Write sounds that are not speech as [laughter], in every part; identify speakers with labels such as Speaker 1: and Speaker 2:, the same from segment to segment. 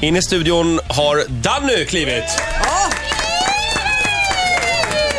Speaker 1: In i studion har Danny klivit.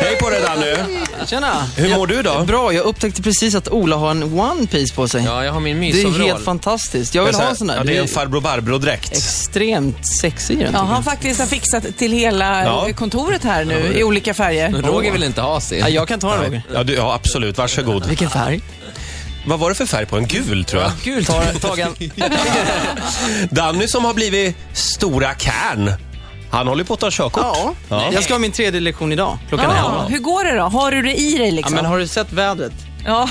Speaker 1: Hej på dig Danny.
Speaker 2: Tjena!
Speaker 1: Hur mår du idag?
Speaker 2: Bra, jag upptäckte precis att Ola har en One Piece på sig.
Speaker 3: Ja, jag har min
Speaker 2: det är ju
Speaker 3: mysoverall.
Speaker 2: helt fantastiskt. Jag vill ha en sån där.
Speaker 1: Ja, det är en
Speaker 2: Du
Speaker 1: farbror Barbro-dräkt.
Speaker 2: extremt sexig den.
Speaker 4: Ja,
Speaker 2: tycker jag.
Speaker 4: han faktiskt har fixat till hela
Speaker 1: Ja.
Speaker 4: eh, kontoret här nu i olika färger.
Speaker 3: Men Roger vill inte ha sin.
Speaker 2: Ja, jag kan ta den Roger.
Speaker 1: Ja, du, ja, absolut. Varsågod.
Speaker 2: Vilken färg.
Speaker 1: Vad var det för färg på den? Gul, tror jag.
Speaker 3: Kul.
Speaker 2: Ta, ta den.
Speaker 1: Danny som har blivit stora kärn. Han håller på att ta körkort.
Speaker 2: Ja. Jag ska ha min tredje lektion idag, klockan
Speaker 4: Ja,
Speaker 2: elva.
Speaker 4: hur går det då? Har du det i dig
Speaker 2: Ja,
Speaker 4: liksom?
Speaker 2: men har du sett vädret?
Speaker 4: Ja.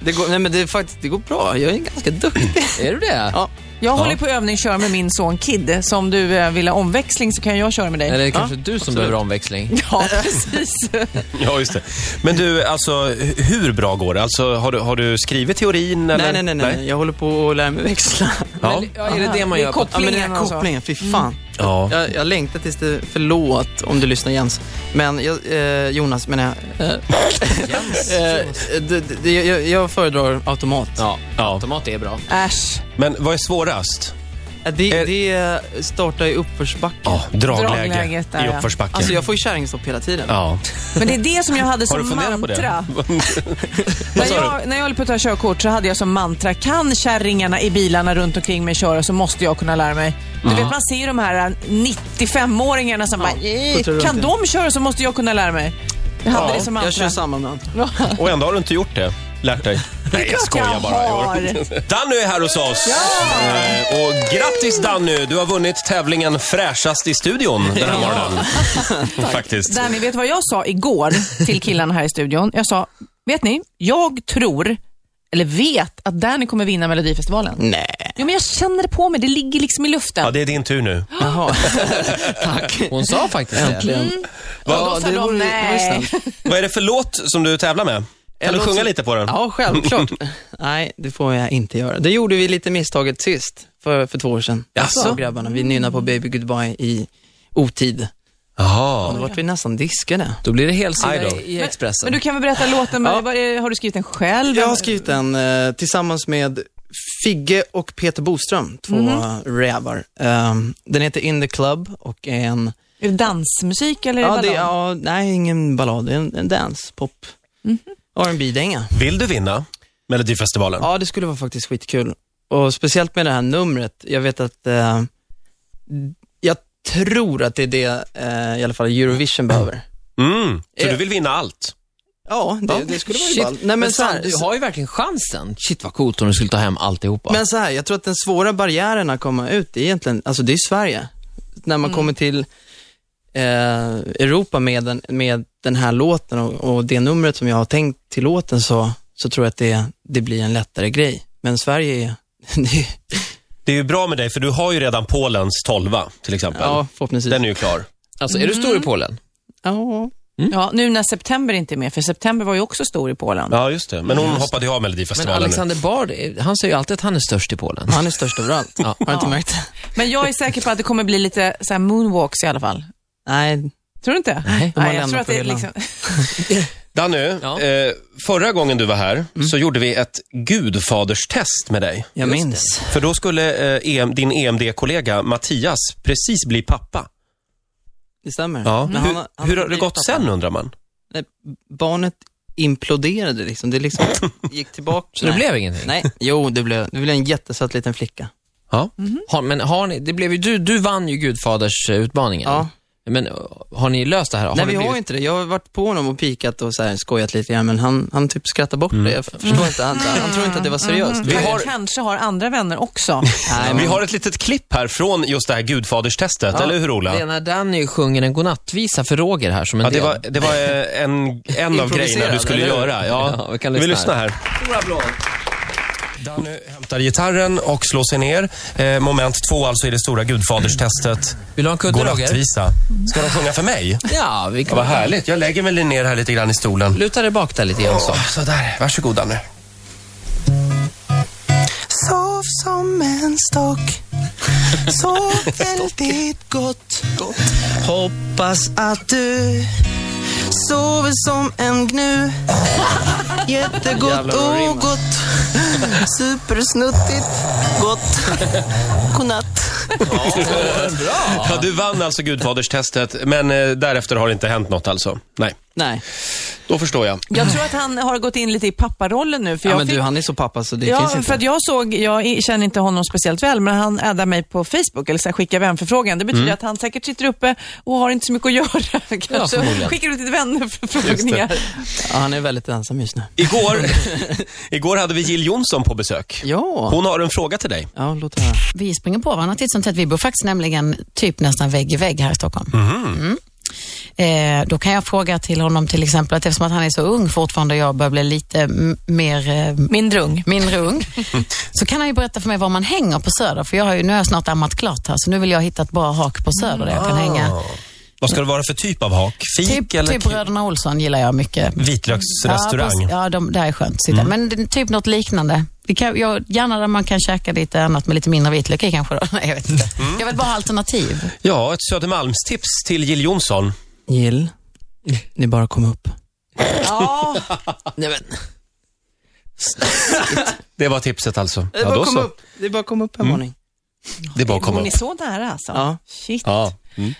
Speaker 2: Det går, nej, men det, är faktiskt, det går bra. Jag är ganska duktig.
Speaker 3: Är du det?
Speaker 2: Ja.
Speaker 4: Jag håller på övning kör med min son Kid. Så om du eh, vill ha omväxling så kan jag köra med dig.
Speaker 3: Eller är det kanske du som behöver omväxling?
Speaker 4: [laughs] Ja, precis.
Speaker 1: Ja, just det. Men du, alltså, hu- hur bra går det? Alltså, har, du, har du skrivit teorin? Eller?
Speaker 2: Nej, nej, nej, nej. Jag håller på att lära mig växla.
Speaker 1: Ja.
Speaker 3: Ja, är det det man
Speaker 4: Det är
Speaker 3: gör? på-
Speaker 2: Ja, men den
Speaker 4: Kopplingen
Speaker 2: här
Speaker 4: och så.
Speaker 2: kopplingen, fy fan.
Speaker 1: Ja.
Speaker 2: Jag, jag längtar tills det, förlåt om du lyssnar Jens, men jag, eh, Jonas menar jag. Eh,
Speaker 3: Jens.
Speaker 2: [laughs] eh, det, det, jag, jag föredrar automat.
Speaker 3: Ja,
Speaker 1: Ja.
Speaker 3: automat är bra.
Speaker 4: Äsch.
Speaker 1: Men vad är svårast?
Speaker 2: Eh, Det,
Speaker 1: Eh,
Speaker 2: det startar i uppförsbacke.
Speaker 1: Ja, dragläge
Speaker 4: Dragläget där,
Speaker 1: i
Speaker 4: ja.
Speaker 1: uppförsbacken.
Speaker 2: Alltså jag får ju kärringstopp hela tiden.
Speaker 1: Ja.
Speaker 4: Men det är det som jag hade
Speaker 1: Har du
Speaker 4: som
Speaker 1: funderat på det?
Speaker 4: mantra. När jag, när jag höll på att ta körkort så hade jag som mantra, kan kärringarna i bilarna runt omkring mig köra så måste jag kunna lära mig. Du vet, man ser ju de här eh, 95-åringarna som bara,
Speaker 2: skjuter
Speaker 4: "Eh,
Speaker 2: runt
Speaker 4: kan
Speaker 2: i.
Speaker 4: de köra så måste jag kunna lära mig. Jag hade det som
Speaker 2: jag kör
Speaker 4: mantra.
Speaker 2: samma man.
Speaker 1: [laughs] Och ändå har du inte gjort det. Lärt dig. Nej, jag skojar
Speaker 4: jag
Speaker 1: bara. Jo.
Speaker 4: har.
Speaker 1: [laughs] Danny är här hos oss. Eh, Och grattis Danny, du har vunnit tävlingen Fräschast i studion den här morgonen. Faktiskt.
Speaker 4: Danny, vet du vad jag sa igår till killarna här i studion? Jag sa, vet ni, jag tror, eller vet, att Danny kommer vinna Melodifestivalen.
Speaker 2: Nej.
Speaker 4: Jo, men jag känner det på mig, det ligger liksom i luften.
Speaker 1: Ja, det är din tur nu.
Speaker 4: [laughs]
Speaker 2: Jaha. Tack.
Speaker 3: Hon sa faktiskt det.
Speaker 2: Äntligen.
Speaker 4: Mm. Och då sa de,
Speaker 2: vore- vore
Speaker 4: nej.
Speaker 2: snällt.
Speaker 1: Vad är det för låt som du tävlar med? Kan
Speaker 2: En
Speaker 1: du
Speaker 2: låt
Speaker 1: sjunga
Speaker 2: som-
Speaker 1: lite på den?
Speaker 2: Ja, självklart. Nej, det får jag inte göra. Det gjorde vi lite misstaget sist, för, för två år sedan.
Speaker 1: Jaså?
Speaker 2: Jag och grabbarna, vi nynnade på Baby Goodbye i otid.
Speaker 1: Jaha.
Speaker 2: Då vart vi nästan diskade.
Speaker 3: Då blir det
Speaker 1: Aj
Speaker 3: helsida
Speaker 1: då.
Speaker 3: i i Expressen.
Speaker 4: Men du kan väl berätta låten, men vad är- har du skrivit den själv?
Speaker 2: Jag har skrivit den eh, tillsammans med Figge och Peter Boström, två mm rävar. Ehm, den heter In the Club och är en...
Speaker 4: Är det dansmusik eller
Speaker 2: Ja,
Speaker 4: är det
Speaker 2: det,
Speaker 4: ballad?
Speaker 2: ja, nej, ingen ballad, det är en, en dance, pop, R&B dänga
Speaker 1: Vill du vinna Melodifestivalen?
Speaker 2: Ja, det skulle vara faktiskt skitkul. Och speciellt med det här numret. Jag vet att, eh, jag tror att det är det eh, i alla fall Eurovision behöver.
Speaker 1: Mm. Så du vill vinna allt?
Speaker 2: Ja, det, det skulle vara ju ballt. Nej, men, så
Speaker 3: fan,
Speaker 2: här,
Speaker 3: du har ju verkligen chansen. Shit vad coolt om du skulle ta hem alltihopa.
Speaker 2: men så här, jag tror att den svåra barriären att komma ut är egentligen, alltså det är Sverige. När
Speaker 1: Mm.
Speaker 2: man kommer till eh, Europa med den, med den här låten och, och det numret som jag har tänkt till låten så, så tror jag att det, det blir en lättare grej. Men Sverige är, [laughs] det är
Speaker 1: Det är ju bra med dig, för du har ju redan Polens tolva, till exempel.
Speaker 2: ja, förhoppningsvis.
Speaker 1: Den är ju klar.
Speaker 3: Alltså, är du stor i Polen?
Speaker 2: Ja.
Speaker 4: Mm. Ja, nu när september inte är med, för september var ju också stor i Polen.
Speaker 1: Ja, just det. Men hon
Speaker 2: Just
Speaker 1: hoppade ju av
Speaker 3: Men
Speaker 1: Melodifestivalen nu.
Speaker 3: Alexander Bard, eh, han säger ju alltid att han är störst i Polen.
Speaker 2: Han är störst överallt.
Speaker 3: Ja.
Speaker 2: Har du inte märkt det?
Speaker 4: Men jag är säker på att det kommer bli lite så här moonwalks i alla fall.
Speaker 2: Nej,
Speaker 4: Tror du inte?
Speaker 2: Nej, de har
Speaker 4: jag
Speaker 2: lämnat
Speaker 4: tror att
Speaker 2: på
Speaker 4: det är
Speaker 2: hyllan.
Speaker 4: liksom...
Speaker 1: Danny,
Speaker 3: Ja.
Speaker 1: eh, förra gången du var här så gjorde vi ett gudfaderstest med dig.
Speaker 2: jag minns.
Speaker 1: För då skulle eh, EM, din EMD-kollega Mattias precis bli pappa.
Speaker 2: Det stämmer.
Speaker 1: Ja.
Speaker 2: Men
Speaker 1: Hur,
Speaker 2: Mm. han- han
Speaker 1: hur har det
Speaker 2: blev
Speaker 1: gått
Speaker 2: pappa.
Speaker 1: sen undrar man?
Speaker 2: Nej, barnet imploderade liksom.
Speaker 1: [laughs]
Speaker 2: Det liksom gick tillbaka.
Speaker 3: Så det blev ingenting?
Speaker 2: Nej, jo det blev, det blev en jättesöt liten flicka.
Speaker 1: Ja.
Speaker 3: Har, men har ni, det blev ju du, du vann ju Gudfadersutmaningen.
Speaker 2: Ja.
Speaker 3: Men eh, har ni löst det här?
Speaker 2: Nej
Speaker 3: det
Speaker 2: vi har
Speaker 3: blivit-
Speaker 2: ju inte det. Jag har varit på honom och pikat och så här, skojat lite grann, men han, han typ skrattar bort det. Jag förstår inte, han, han tror inte att det var seriöst.
Speaker 4: Mm. Vi
Speaker 1: Vi har-
Speaker 4: kanske har andra vänner också.
Speaker 2: Nej, men,
Speaker 1: Vi har ett litet klipp här från just det här gudfaderstestet, eller hur Ola?
Speaker 3: Det är när Danny sjunger en godnattvisa för Roger här som en
Speaker 1: Ja, det
Speaker 3: del.
Speaker 1: var, det var eh, en, en av grejerna du
Speaker 3: Improviserad,
Speaker 1: skulle
Speaker 3: eller hur?
Speaker 1: göra. Ja.
Speaker 3: Ja, vi kan
Speaker 1: vi
Speaker 3: lyssna
Speaker 1: lyssnar här. Danny hämtar gitarren och slår sig ner. Eh, moment två alltså i det stora gudfaderstestet.
Speaker 3: Vill du ha en kudde Roger?
Speaker 1: Godnattvisa. Ska de sjunga för mig?
Speaker 3: Ja, vi
Speaker 1: Ja,
Speaker 3: kan...
Speaker 1: vad härligt. Jag lägger mig ner här lite grann i stolen.
Speaker 3: Luta dig bak där lite grann så.
Speaker 1: Oh, sådär, varsågod Danny.
Speaker 5: Sov som en stock. Sov väldigt gott. Hoppas att du sover som en gnu. Jättegott och gott. Supersnuttigt gott. Godnatt.
Speaker 1: Ja. du vann alltså Gudfaderstestet, men eh, därefter har det inte hänt något alltså? Nej,
Speaker 2: Nej,
Speaker 1: då förstår jag.
Speaker 4: Jag tror att han har gått in lite i papparollen nu. För
Speaker 2: ja,
Speaker 4: jag
Speaker 2: men
Speaker 4: fick...
Speaker 2: du, han är så pappa så det
Speaker 4: Ja,
Speaker 2: finns inte.
Speaker 4: för att jag såg, jag i- känner inte honom speciellt väl, men han addar mig på Facebook, eller så här, skickar vänförfrågan. Det betyder
Speaker 2: Mm.
Speaker 4: att han säkert sitter uppe och har inte så mycket att göra. [laughs] Kanske
Speaker 3: förmodligen.
Speaker 4: skickar ut lite vänförfrågningar.
Speaker 2: Ja, han är väldigt ensam just nu.
Speaker 1: Igår,
Speaker 3: [laughs]
Speaker 1: igår hade vi Jill Johnson på besök.
Speaker 2: Ja,
Speaker 1: Hon har en fråga till dig.
Speaker 2: ja låt höra.
Speaker 6: Vi springer på varandra titt som tätt. Vi bor faktiskt nämligen typ nästan vägg i vägg här i Stockholm.
Speaker 1: Mhm.
Speaker 6: Mm. Eh, då kan jag fråga till honom till exempel att eftersom att han är så ung fortfarande och jag börjar bli lite m- mer eh,
Speaker 4: Mindre ung.
Speaker 6: mindre
Speaker 1: [laughs]
Speaker 6: ung, så kan han ju berätta för mig var man hänger på Söder. För jag har ju, nu har jag snart ammat klart här, så nu vill jag hitta ett bra hak på Söder där jag kan hänga.
Speaker 1: Vad ska det vara för typ av hak? Ah. Fik
Speaker 6: Typ,
Speaker 1: eller
Speaker 6: typ Bröderna Olsson gillar jag mycket. Ja,
Speaker 1: vitlöksrestaurang?
Speaker 6: precis. ja de, där är skönt att sitta. Men det- typ något liknande. Vi kan, jag, gärna där man kan käka lite annat med lite mindre vitlök i kanske. Då. [laughs] Nej, jag vet inte. Jag vill bara ha alternativ.
Speaker 1: Ja, ett Södermalmstips till Jill Johnson.
Speaker 2: Jill, ni bara kom upp.
Speaker 4: Ja,
Speaker 2: Nej men.
Speaker 1: Det var tipset alltså.
Speaker 2: Det är bara att komma upp. Det är bara att komma
Speaker 1: Mm.
Speaker 2: upp en våning.
Speaker 1: Det är bara att komma
Speaker 4: hon
Speaker 1: upp.
Speaker 4: är så nära alltså.
Speaker 2: Ja.
Speaker 4: Shit.
Speaker 1: Ja. Mm.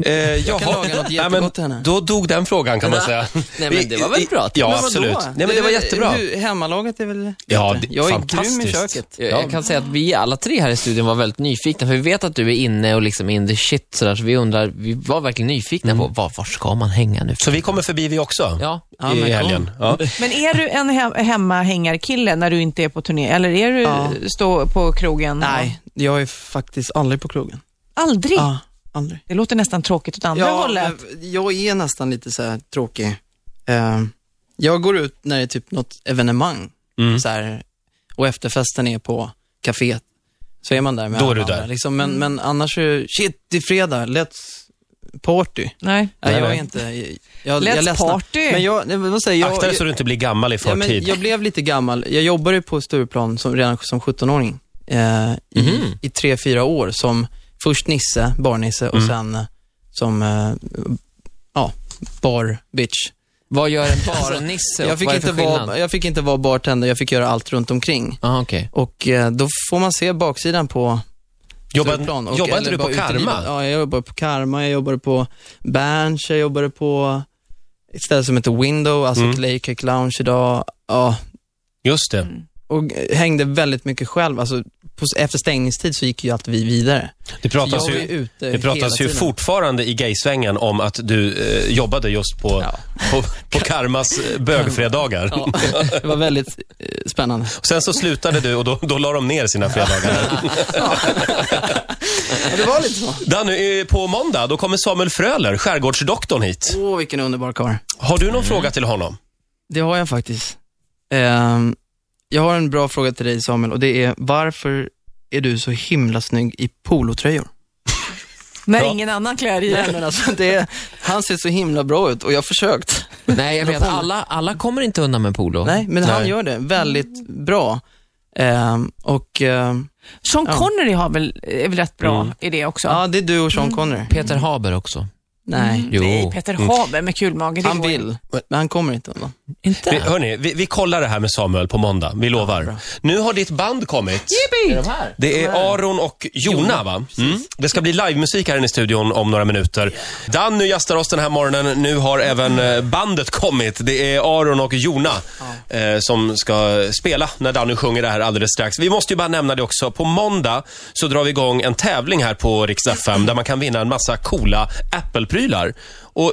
Speaker 1: Eh, jag [laughs]
Speaker 2: kan laga något jättegott till henne.
Speaker 1: Då dog den frågan kan man säga.
Speaker 2: [laughs] Nej, men det var väl bra?
Speaker 1: Ja,
Speaker 2: Men vadå?
Speaker 1: absolut. Nej, men det var
Speaker 2: är väl-
Speaker 1: jättebra.
Speaker 2: hur- Hemmalaget är väl bättre?
Speaker 1: Ja, det-
Speaker 2: Jag är grym i
Speaker 1: fantastiskt.
Speaker 2: köket.
Speaker 3: Jag, jag kan säga att vi alla tre här i studion var väldigt nyfikna, för vi vet att du är inne och liksom in the shit sådär, så vi undrar, vi var verkligen nyfikna på var, var ska man hänga nu?
Speaker 1: Mm. Så vi kommer förbi vi också
Speaker 3: Ja.
Speaker 2: Ja, men
Speaker 1: i
Speaker 2: kom.
Speaker 1: helgen. Ja.
Speaker 4: Men är du en he- hemmahängarkille när du inte är på turné? Eller är du
Speaker 2: Ja.
Speaker 4: stå på krogen?
Speaker 2: Nej, jag är faktiskt aldrig på krogen.
Speaker 4: Aldrig?
Speaker 2: Ja, aldrig.
Speaker 4: Det låter nästan tråkigt åt andra hållet.
Speaker 2: men jag är nästan lite så här tråkig. Eh, jag går ut när det är typ något evenemang
Speaker 1: Mm.
Speaker 2: så här, och efterfesten är på kaféet. Så är man där med
Speaker 1: Då är
Speaker 2: alla
Speaker 1: du
Speaker 2: andra,
Speaker 1: där.
Speaker 2: Liksom. Men, men annars är shit, det är fredag, let's party.
Speaker 4: Nej.
Speaker 2: Nej, jag är
Speaker 1: nej.
Speaker 2: inte, jag, jag
Speaker 4: Let's
Speaker 2: ledsnar.
Speaker 4: party.
Speaker 2: Men jag, nej, men vad säger jag?
Speaker 1: Akta dig så
Speaker 2: jag,
Speaker 1: du inte blir gammal i
Speaker 2: ja, men
Speaker 1: förtid.
Speaker 2: jag blev lite gammal. Jag jobbade på Stureplan som, redan som 17-åring eh, i,
Speaker 1: Mhm.
Speaker 2: i tre, fyra år som först Nisse, barnisse
Speaker 1: Mm.
Speaker 2: och sen eh, som, eh, ja, bar bitch.
Speaker 3: Vad gör en barnisse?
Speaker 2: Jag
Speaker 3: och
Speaker 2: fick,
Speaker 3: vad är det
Speaker 2: inte
Speaker 3: för skillnad?
Speaker 2: vara, jag fick inte vara bartender, jag fick göra allt runt omkring.
Speaker 3: Aha, okej.
Speaker 2: Och eh, då får man se baksidan på Stureplan.
Speaker 1: Jobbar
Speaker 2: Och-
Speaker 1: jobbar
Speaker 2: eller
Speaker 1: inte du på
Speaker 2: bara utelivet.
Speaker 1: Karma?
Speaker 2: Ja, jag jobbade på Karma, jag jobbade på Berns, jag jobbade på ett ställe som heter Window, alltså
Speaker 1: Mm.
Speaker 2: Claycake Lounge idag. Ja,
Speaker 1: Just det.
Speaker 2: och eh, hängde väldigt mycket själv. Alltså, på, efter stängningstid så gick ju alltid vi vidare.
Speaker 1: Det
Speaker 2: Så
Speaker 1: pratas
Speaker 2: jag var ju
Speaker 1: ju,
Speaker 2: ute
Speaker 1: det
Speaker 2: Eh, hela
Speaker 1: pratas ju
Speaker 2: tiden.
Speaker 1: fortfarande i gaysvängen om att du eh, jobbade just på,
Speaker 2: Ja.
Speaker 1: på, på Karmas eh, bögfredagar.
Speaker 2: Ja, det var väldigt eh,
Speaker 1: [laughs]
Speaker 2: spännande.
Speaker 1: Och Sen så slutade du och då, då la de ner sina fredagar.
Speaker 2: Ja, det var lite så.
Speaker 1: Danny, eh, på måndag då kommer Samuel Fröler, skärgårdsdoktorn hit.
Speaker 2: Åh, vilken underbar karl.
Speaker 1: Har du
Speaker 2: Mm.
Speaker 1: någon fråga till honom?
Speaker 2: Det har jag faktiskt. Ehm, jag har en bra fråga till dig Samuel och det är varför är du så himla snygg i polotröjor?
Speaker 4: När
Speaker 1: Ja.
Speaker 4: ingen annan klär i
Speaker 2: Nej
Speaker 4: den.
Speaker 2: men alltså, det är, han ser så himla bra ut och jag har försökt.
Speaker 3: Nej, jag vet, alla, alla kommer inte undan med polo.
Speaker 2: Nej, men han
Speaker 1: Nej.
Speaker 2: gör det väldigt bra. Ehm, och ehm,
Speaker 4: Sean
Speaker 2: Ja.
Speaker 4: Connery har väl, är väl rätt bra i det också?
Speaker 2: ja, Mm. det är du och Sean Connery.
Speaker 3: Peter Haber också.
Speaker 2: Nej,
Speaker 3: Jo.
Speaker 4: Nej, Peter Haber med kulmage. det
Speaker 2: han
Speaker 4: går
Speaker 2: vill, men han kommer inte undan.
Speaker 3: Inte?
Speaker 1: Vi, hörni, vi, vi kollar det här med Samuel på måndag. Vi lovar. nu har ditt band kommit.
Speaker 3: Är de här?
Speaker 1: Det är Aron och Jona, va? Mm. Det ska bli livemusik här inne i studion om några minuter. Danny gästar oss den här morgonen. Nu har även eh, bandet kommit. Det är Aron och Jona eh, som ska spela när Danny sjunger det här alldeles strax. Vi måste ju bara nämna det också. På måndag så drar vi igång en tävling här på Rix FM där man kan vinna en massa coola Apple-prylar. Och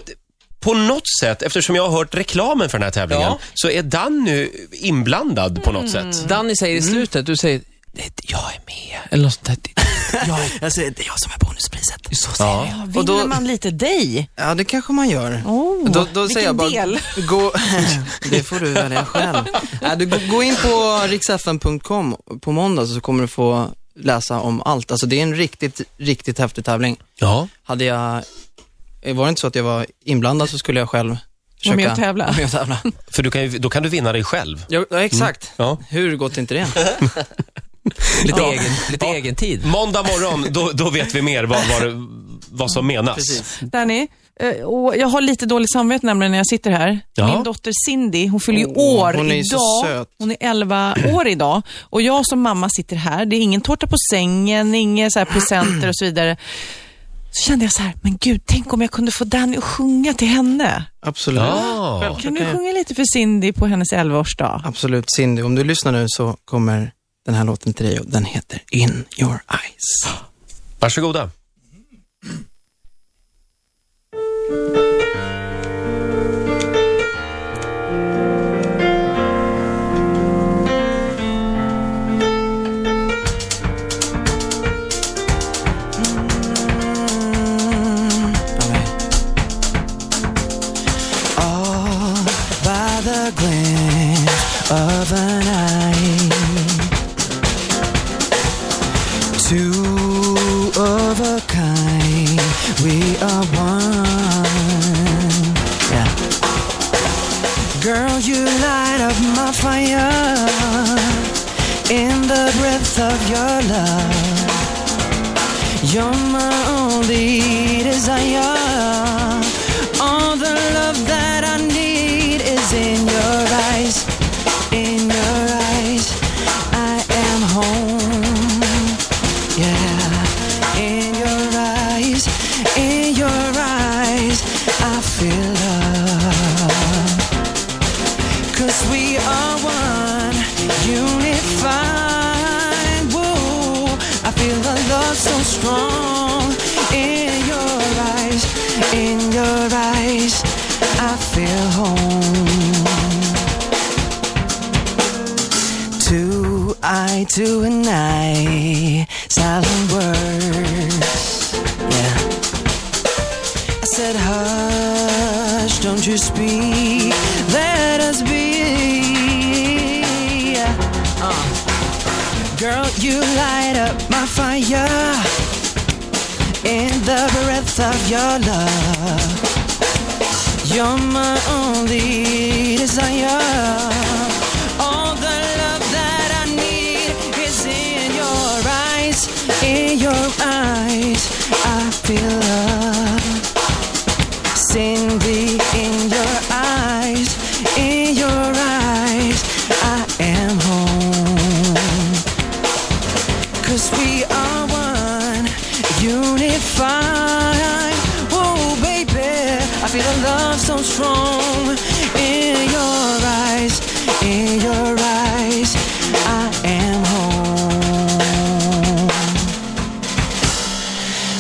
Speaker 1: på något sätt, eftersom jag har hört reklamen för den här tävlingen,
Speaker 3: Ja.
Speaker 1: så är Danny inblandad på något sätt.
Speaker 3: Danny säger i
Speaker 1: Mm.
Speaker 3: slutet, du säger, "Det är inte jag är med, eller något sånt där. Det- Jag, är-
Speaker 2: Jag säger, Alltså, det är jag som är bonuspriset.
Speaker 3: så säger jag.
Speaker 4: Ja,
Speaker 2: Och
Speaker 4: vinner
Speaker 2: då-
Speaker 4: man lite dig?
Speaker 2: Ja, det kanske man gör. då, då säger jag bara,
Speaker 4: vilken
Speaker 2: Gå, Oh, [laughs] det får du välja själv. [laughs] Nej, du, gå, gå in på riksfn.com på måndag så kommer du få läsa om allt. Alltså det är en riktigt, riktigt häftig tävling.
Speaker 1: Ja.
Speaker 2: Hade jag, var det inte så att jag var inblandad så skulle jag själv försöka
Speaker 4: Vara med och
Speaker 2: [laughs]
Speaker 4: tävla.
Speaker 2: vara med och tävla.
Speaker 1: För du kan ju, då kan du vinna dig själv.
Speaker 2: Ja, ja, exakt.
Speaker 1: Ja.
Speaker 2: Hur gott är inte det?
Speaker 3: Lite, egen, lite egen tid.
Speaker 1: Måndag morgon, då, då vet vi mer vad, vad, det- vad som menas.
Speaker 2: Precis.
Speaker 4: Danny, Eh, Och jag har lite dåligt samvete nämligen när jag sitter här.
Speaker 1: Ja.
Speaker 4: Min dotter Cindy, hon fyller ju
Speaker 3: Åh,
Speaker 4: år
Speaker 3: hon är ju så
Speaker 4: idag.
Speaker 3: söt.
Speaker 4: Hon är 11 år idag. Och jag som mamma sitter här. Det är ingen tårta på sängen, inga så här presenter och så vidare. Så kände jag så här, men gud, tänk om jag kunde få Danny att sjunga till henne.
Speaker 3: Absolut.
Speaker 1: Ja.
Speaker 3: Självklart
Speaker 4: Kan du
Speaker 3: jag-
Speaker 4: sjunga lite för Cindy på hennes 11-årsdag?
Speaker 3: Absolut, Cindy. Om du lyssnar nu så kommer den här låten till dig och den heter In your eyes.
Speaker 1: Varsågoda.
Speaker 2: all by the glint of an eye. Two of a kind, we are one. Yeah. Girl, you light up my fire in the breath of your love. You're my only desire. All the love that I need is in your eyes. In your eyes, I am home. Yeah. In your eyes, in your eyes, I feel love. Cause we are one, unified. Whoa, I feel the love so strong in your eyes, in your eyes. I feel home. Two eye to an eye, silent words. Yeah. I said, hush, don't you speak. Let us be. Uh. Girl, you light up my fire in the breath of your love. You're my only desire. All the love that I need is in your eyes. In your eyes, I feel love. Cindy, in your eyes, in your eyes, I am home. Cause we are one, unified. Oh, baby, I feel the love so strong. In your eyes, in your eyes, I am home.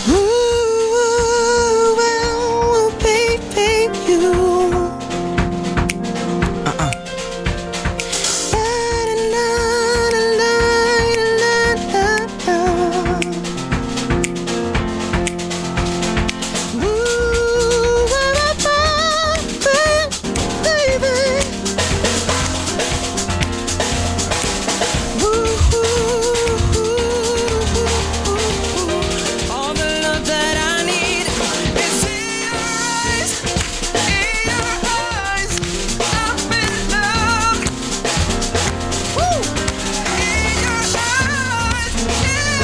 Speaker 2: Ooh, ooh, ooh, baby, you. Uh-uh. Ooh, ooh, baby. All the love that I need is in your eyes, in your eyes. I've been loved. In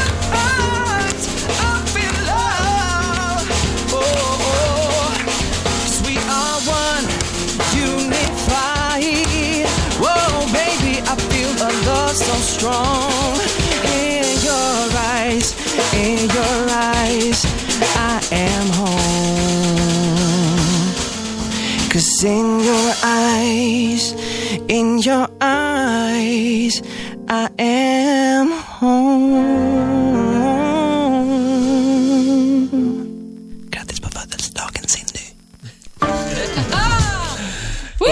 Speaker 2: your eyes, in your eyes. I've been loved. Oh, cause we are one unified. Whoa, baby, I feel a love so strong. In your eyes, in your eyes, I am home. Cause in your eyes, in your eyes, I am home. Grattis på födelsedagen, Cindy.
Speaker 4: Wow,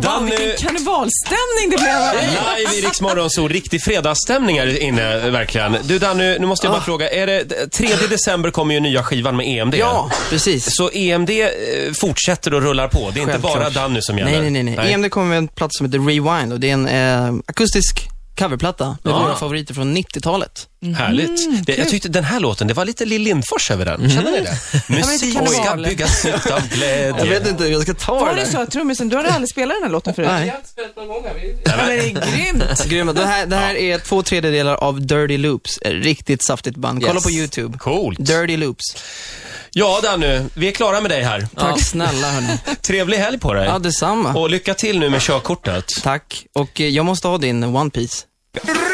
Speaker 1: Danny,
Speaker 4: vilken karnevalstämning det blev.
Speaker 1: live i Rix Morgon, så riktig fredagsstämning här inne, eh, verkligen. Du Danny, nu måste jag bara
Speaker 3: Ah.
Speaker 1: fråga. Är det, 3 december kommer ju nya skivan med EMD.
Speaker 3: Ja, precis.
Speaker 1: Så EMD eh, fortsätter och rullar på. Det är inte
Speaker 3: Självklart.
Speaker 1: bara Danny som gäller.
Speaker 3: Nej, nej, nej. nej. E EMD kommer med en platta som heter Rewind och det är en eh, akustisk coverplatta med
Speaker 1: Ja.
Speaker 3: våra favoriter från 90-talet.
Speaker 1: Härligt.
Speaker 3: Mm,
Speaker 1: det, jag tyckte den här låten, det var lite Lill Lindfors över den. Känner ni det?
Speaker 3: Mm.
Speaker 1: [laughs] Musik
Speaker 4: karneval.
Speaker 1: ska byggas ut av
Speaker 3: Jag
Speaker 1: glädje.
Speaker 3: vet inte hur jag ska ta
Speaker 4: Var
Speaker 3: det
Speaker 4: det så att trummisen, du har aldrig spelat den här låten förut?
Speaker 3: Nej.
Speaker 4: Ja, men det är grymt.
Speaker 3: Grymma. Det här, det här är två tredjedelar av Dirty Loops. Ett Riktigt saftigt band. Kolla
Speaker 7: Yes.
Speaker 3: på YouTube.
Speaker 1: Coolt.
Speaker 3: Dirty Loops.
Speaker 1: Ja, Danny, vi är klara med dig här.
Speaker 2: Tack snälla
Speaker 3: [laughs]
Speaker 2: hörni.
Speaker 1: Trevlig helg på dig.
Speaker 2: Ja, detsamma.
Speaker 1: Och lycka till nu med körkortet.
Speaker 2: Tack. Och eh, jag måste ha din One Piece.